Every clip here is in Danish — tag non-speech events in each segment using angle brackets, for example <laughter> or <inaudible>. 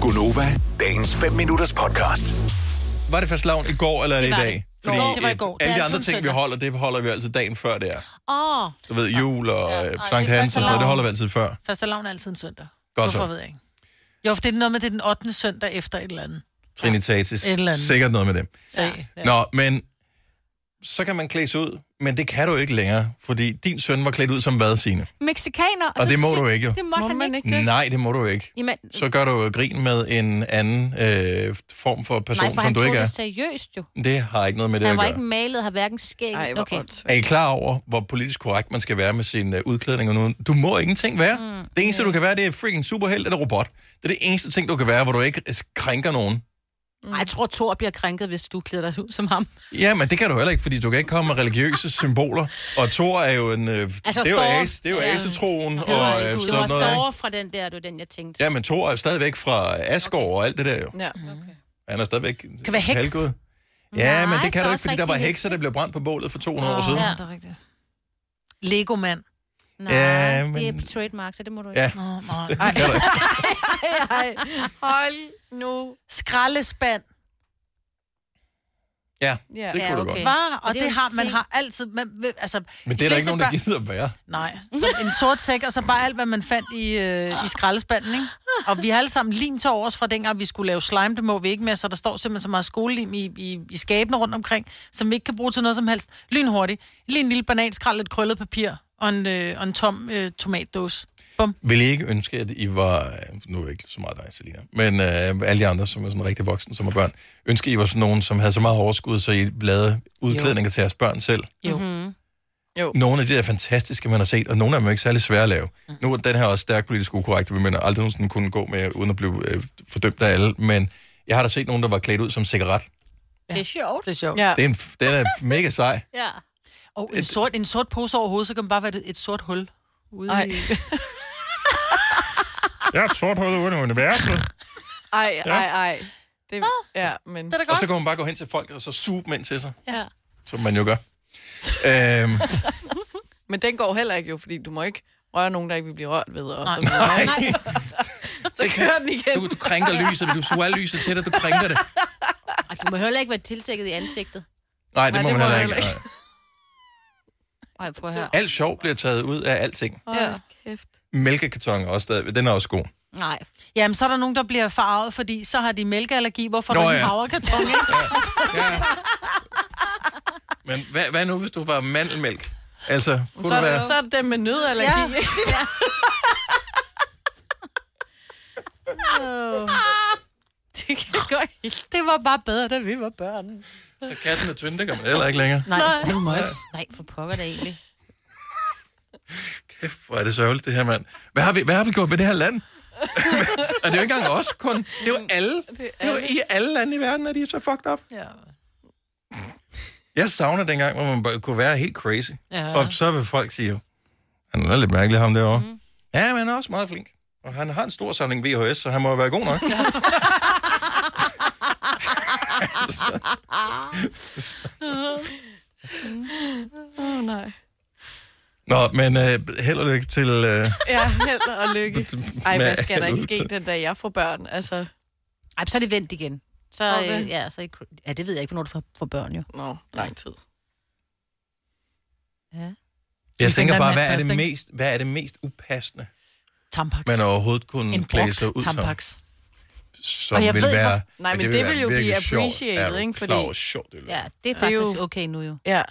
Gunova, dagens 5 minutters podcast. Var det fast lavn i går eller er det i var dag? det. Går. Det var i går. Alle Det de er andre altid ting, vi søndag. holder, det holder vi altid dagen før det er. Åh, oh, Du ved, jul og ja, nej, Sankt det er Hans og sådan noget, det fastelavn. holder vi altid før. Fastelavn er altid en søndag. Godt så. Hvorfor ved jeg ikke? Jo, for det er noget med, det er den 8. søndag efter et eller andet. Trinitatis. Et eller andet. Sikkert noget med det. Så, ja. Ja. Nå, men så kan man klæde sig ud, men det kan du ikke længere, fordi din søn var klædt ud som hvad, Signe? mexikaner. Og det så må sy- du ikke, jo. Det måtte må han ikke. Nej, det må du ikke. Jamen, Så gør du jo grin med en anden øh, form for person, nej, for som han du tog ikke er. det seriøst jo. Det har ikke noget med det Han at var gøre. ikke malet, har hverken skæg. Ej, hvor okay. godt. Er I klar over, hvor politisk korrekt man skal være med sin øh, udklædning? Og nu? Du må ingenting være. Mm, det eneste, du kan være, det er freaking superhelt eller robot. Det er det eneste ting, du kan være, hvor du ikke øh, krænker nogen. Mm. Ej, jeg tror, Thor bliver krænket, hvis du klæder dig ud som ham. Ja, men det kan du heller ikke, fordi du kan ikke komme med religiøse symboler. Og Thor er jo en... Øh, altså, det er jo, Thor. As, det er jo Ja. asetroen Det var, og øh, det sådan var noget. Ikke? Thor fra den der, du den, jeg tænkte. Ja, men Thor er stadigvæk fra Asgård og alt det der jo. Ja. Han er stadigvæk... Kan være heks. Ja, men det kan Nej, der du er ikke, også fordi der var rigtig hekser, der blev brændt på bålet for 200 år Åh, siden. ja, det er rigtigt. Lego-mand. Nej, Ja, det er men- trademark, så det må du <laughs> ikke. Ja, Nå, nej. det kan du ikke. Hold nu. Skraldespand. ja, Ja. det Ja, kunne du okay. godt. Var, Så og det det, er en har, man ting. har altid... Man, ved- altså, Men det er der ikke nogen, der gider at være. Nej, Så en sort sæk, og så bare alt, hvad man fandt i, øh, i skraldespanden, ikke? Og vi har alle sammen lim til overs fra dengang, vi skulle lave slime, det må vi ikke mere, så der står simpelthen så meget skolelim i, i, i skabene rundt omkring, som vi ikke kan bruge til noget som helst. Lynhurtigt. Lige en lille bananskrald, lidt krøllet papir og en, øh, og en tom øh, tomatdåse. Bum. Vil I ikke ønske, at I var... Nu er jeg ikke så meget dig, Selina, men øh, alle de andre, som er sådan rigtig voksne, som er børn. Ønsker I var sådan nogen, som havde så meget overskud, så I lavede udklædninger til jeres børn selv? Jo. Jo. Nogle af de der fantastiske, man har set, og nogle af dem er ikke særlig svære at lave. Nu er den her også stærkt politisk ukorrekt, vi mener aldrig nogensinde kunne gå med, uden at blive øh, fordømt af alle, men jeg har da set nogen, der var klædt ud som cigaret. Det er sjovt. Det er sjovt. Ja. Det er en, f- den er mega sej. Ja. Og en sort, en sort pose over hovedet, så kan man bare være et, et sort hul. Ude Ej. i... Jeg er et sort hoved uden universet. Ej, ej, ej. Det, ja, men... Det er da Og godt. så kan man bare gå hen til folk og så suge dem ind til sig, ja. som man jo gør. øhm, Men den går heller ikke jo, fordi du må ikke røre nogen, der ikke vil blive rørt ved. Og så, nej. så kører den igen. Du, du krænker lyset, du suger lyset til dig, du krænker det. Ej, du må heller ikke være tiltækket i ansigtet. Nej, det, Nej, må, det man må heller man ikke. heller Nej. Ej, prøv at høre. Alt sjov bliver taget ud af alting. Hold kæft. Mælkekarton er også stadig, den er også god. Nej. Jamen, så er der nogen, der bliver farvet, fordi så har de mælkeallergi. Hvorfor Nå, Nå, du ja. en havrekarton, ikke? Ja. Men hvad, hvad nu, hvis du var mandelmælk? Altså, kunne Så, du er være... det, så er det dem med nødallergi. Ja. <laughs> Det kan gå ikke. Det var bare bedre, da vi var børn. Så katten er tynd, det kan man heller ikke længere. Nej, du må ikke. Nej, for pokker da egentlig. Kæft, hvor er det sørgeligt, det her mand. Hvad har vi, hvad har vi gjort ved det her land? <laughs> og det er jo ikke engang os kun. Det er jo alle. Det er jo i alle lande i verden, at de er så fucked up. Ja. Jeg savner dengang, hvor man bare kunne være helt crazy. Ja. Og så vil folk sige, han er lidt mærkelig ham derovre. Mhm. Mm. Ja, men han er også meget flink. Og han har en stor samling VHS, så han må jo være god <laughs> nok. altså, Oh, nej. nå, men uh, held og lykke til... Uh, Ja, held og lykke. Ej, hvad skal der ikke ske den dag, jeg får børn? Altså, Ej, så er det vendt igen. Så, Tror du det? øh, ja, så, ikke- ja, det ved jeg ikke, hvornår du får, får børn jo. nå, lang tid. Ja. Jeg Vi Ligesom tænker tænker bare, en hvad mand er, først, det ikke? mest, hvad er det mest upassende, Tampax. man overhovedet kunne en klæde sig ud brugt som? tampax. Som Og jeg vil ved, være, hvorfor- Ej, Nej, men det vil jo være blive virkelig sjovt. appreciated, Er du ikke? klar Fordi- over, hvor sjovt det Ja, det er Det er jo- faktisk okay nu jo. Ja,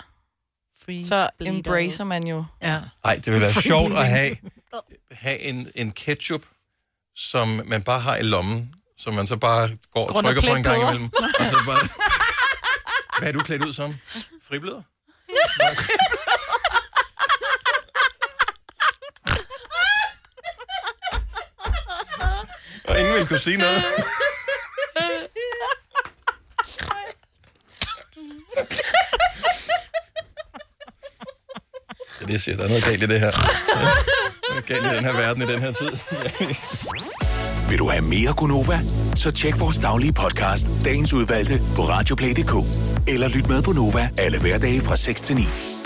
Free så bleeder. embracer man jo. Ja. Nej, det vil være sjovt at have, have en, en ketchup, som man bare har i lommen, som man så bare går og Rundt og trykker på en gang <laughs> klipbløder. imellem. Og så bare, hvad er du klædt ud som? Fribløder? og ingen vil kunne sige noget. Det er det, jeg siger. Der er noget galt i det her. Der er galt i den her verden i den her tid. <laughs> Vil du have mere Gunova? Så tjek vores daglige podcast, dagens udvalgte, på radioplay.dk. Eller lyt med på Nova alle hverdage fra 6 til 9.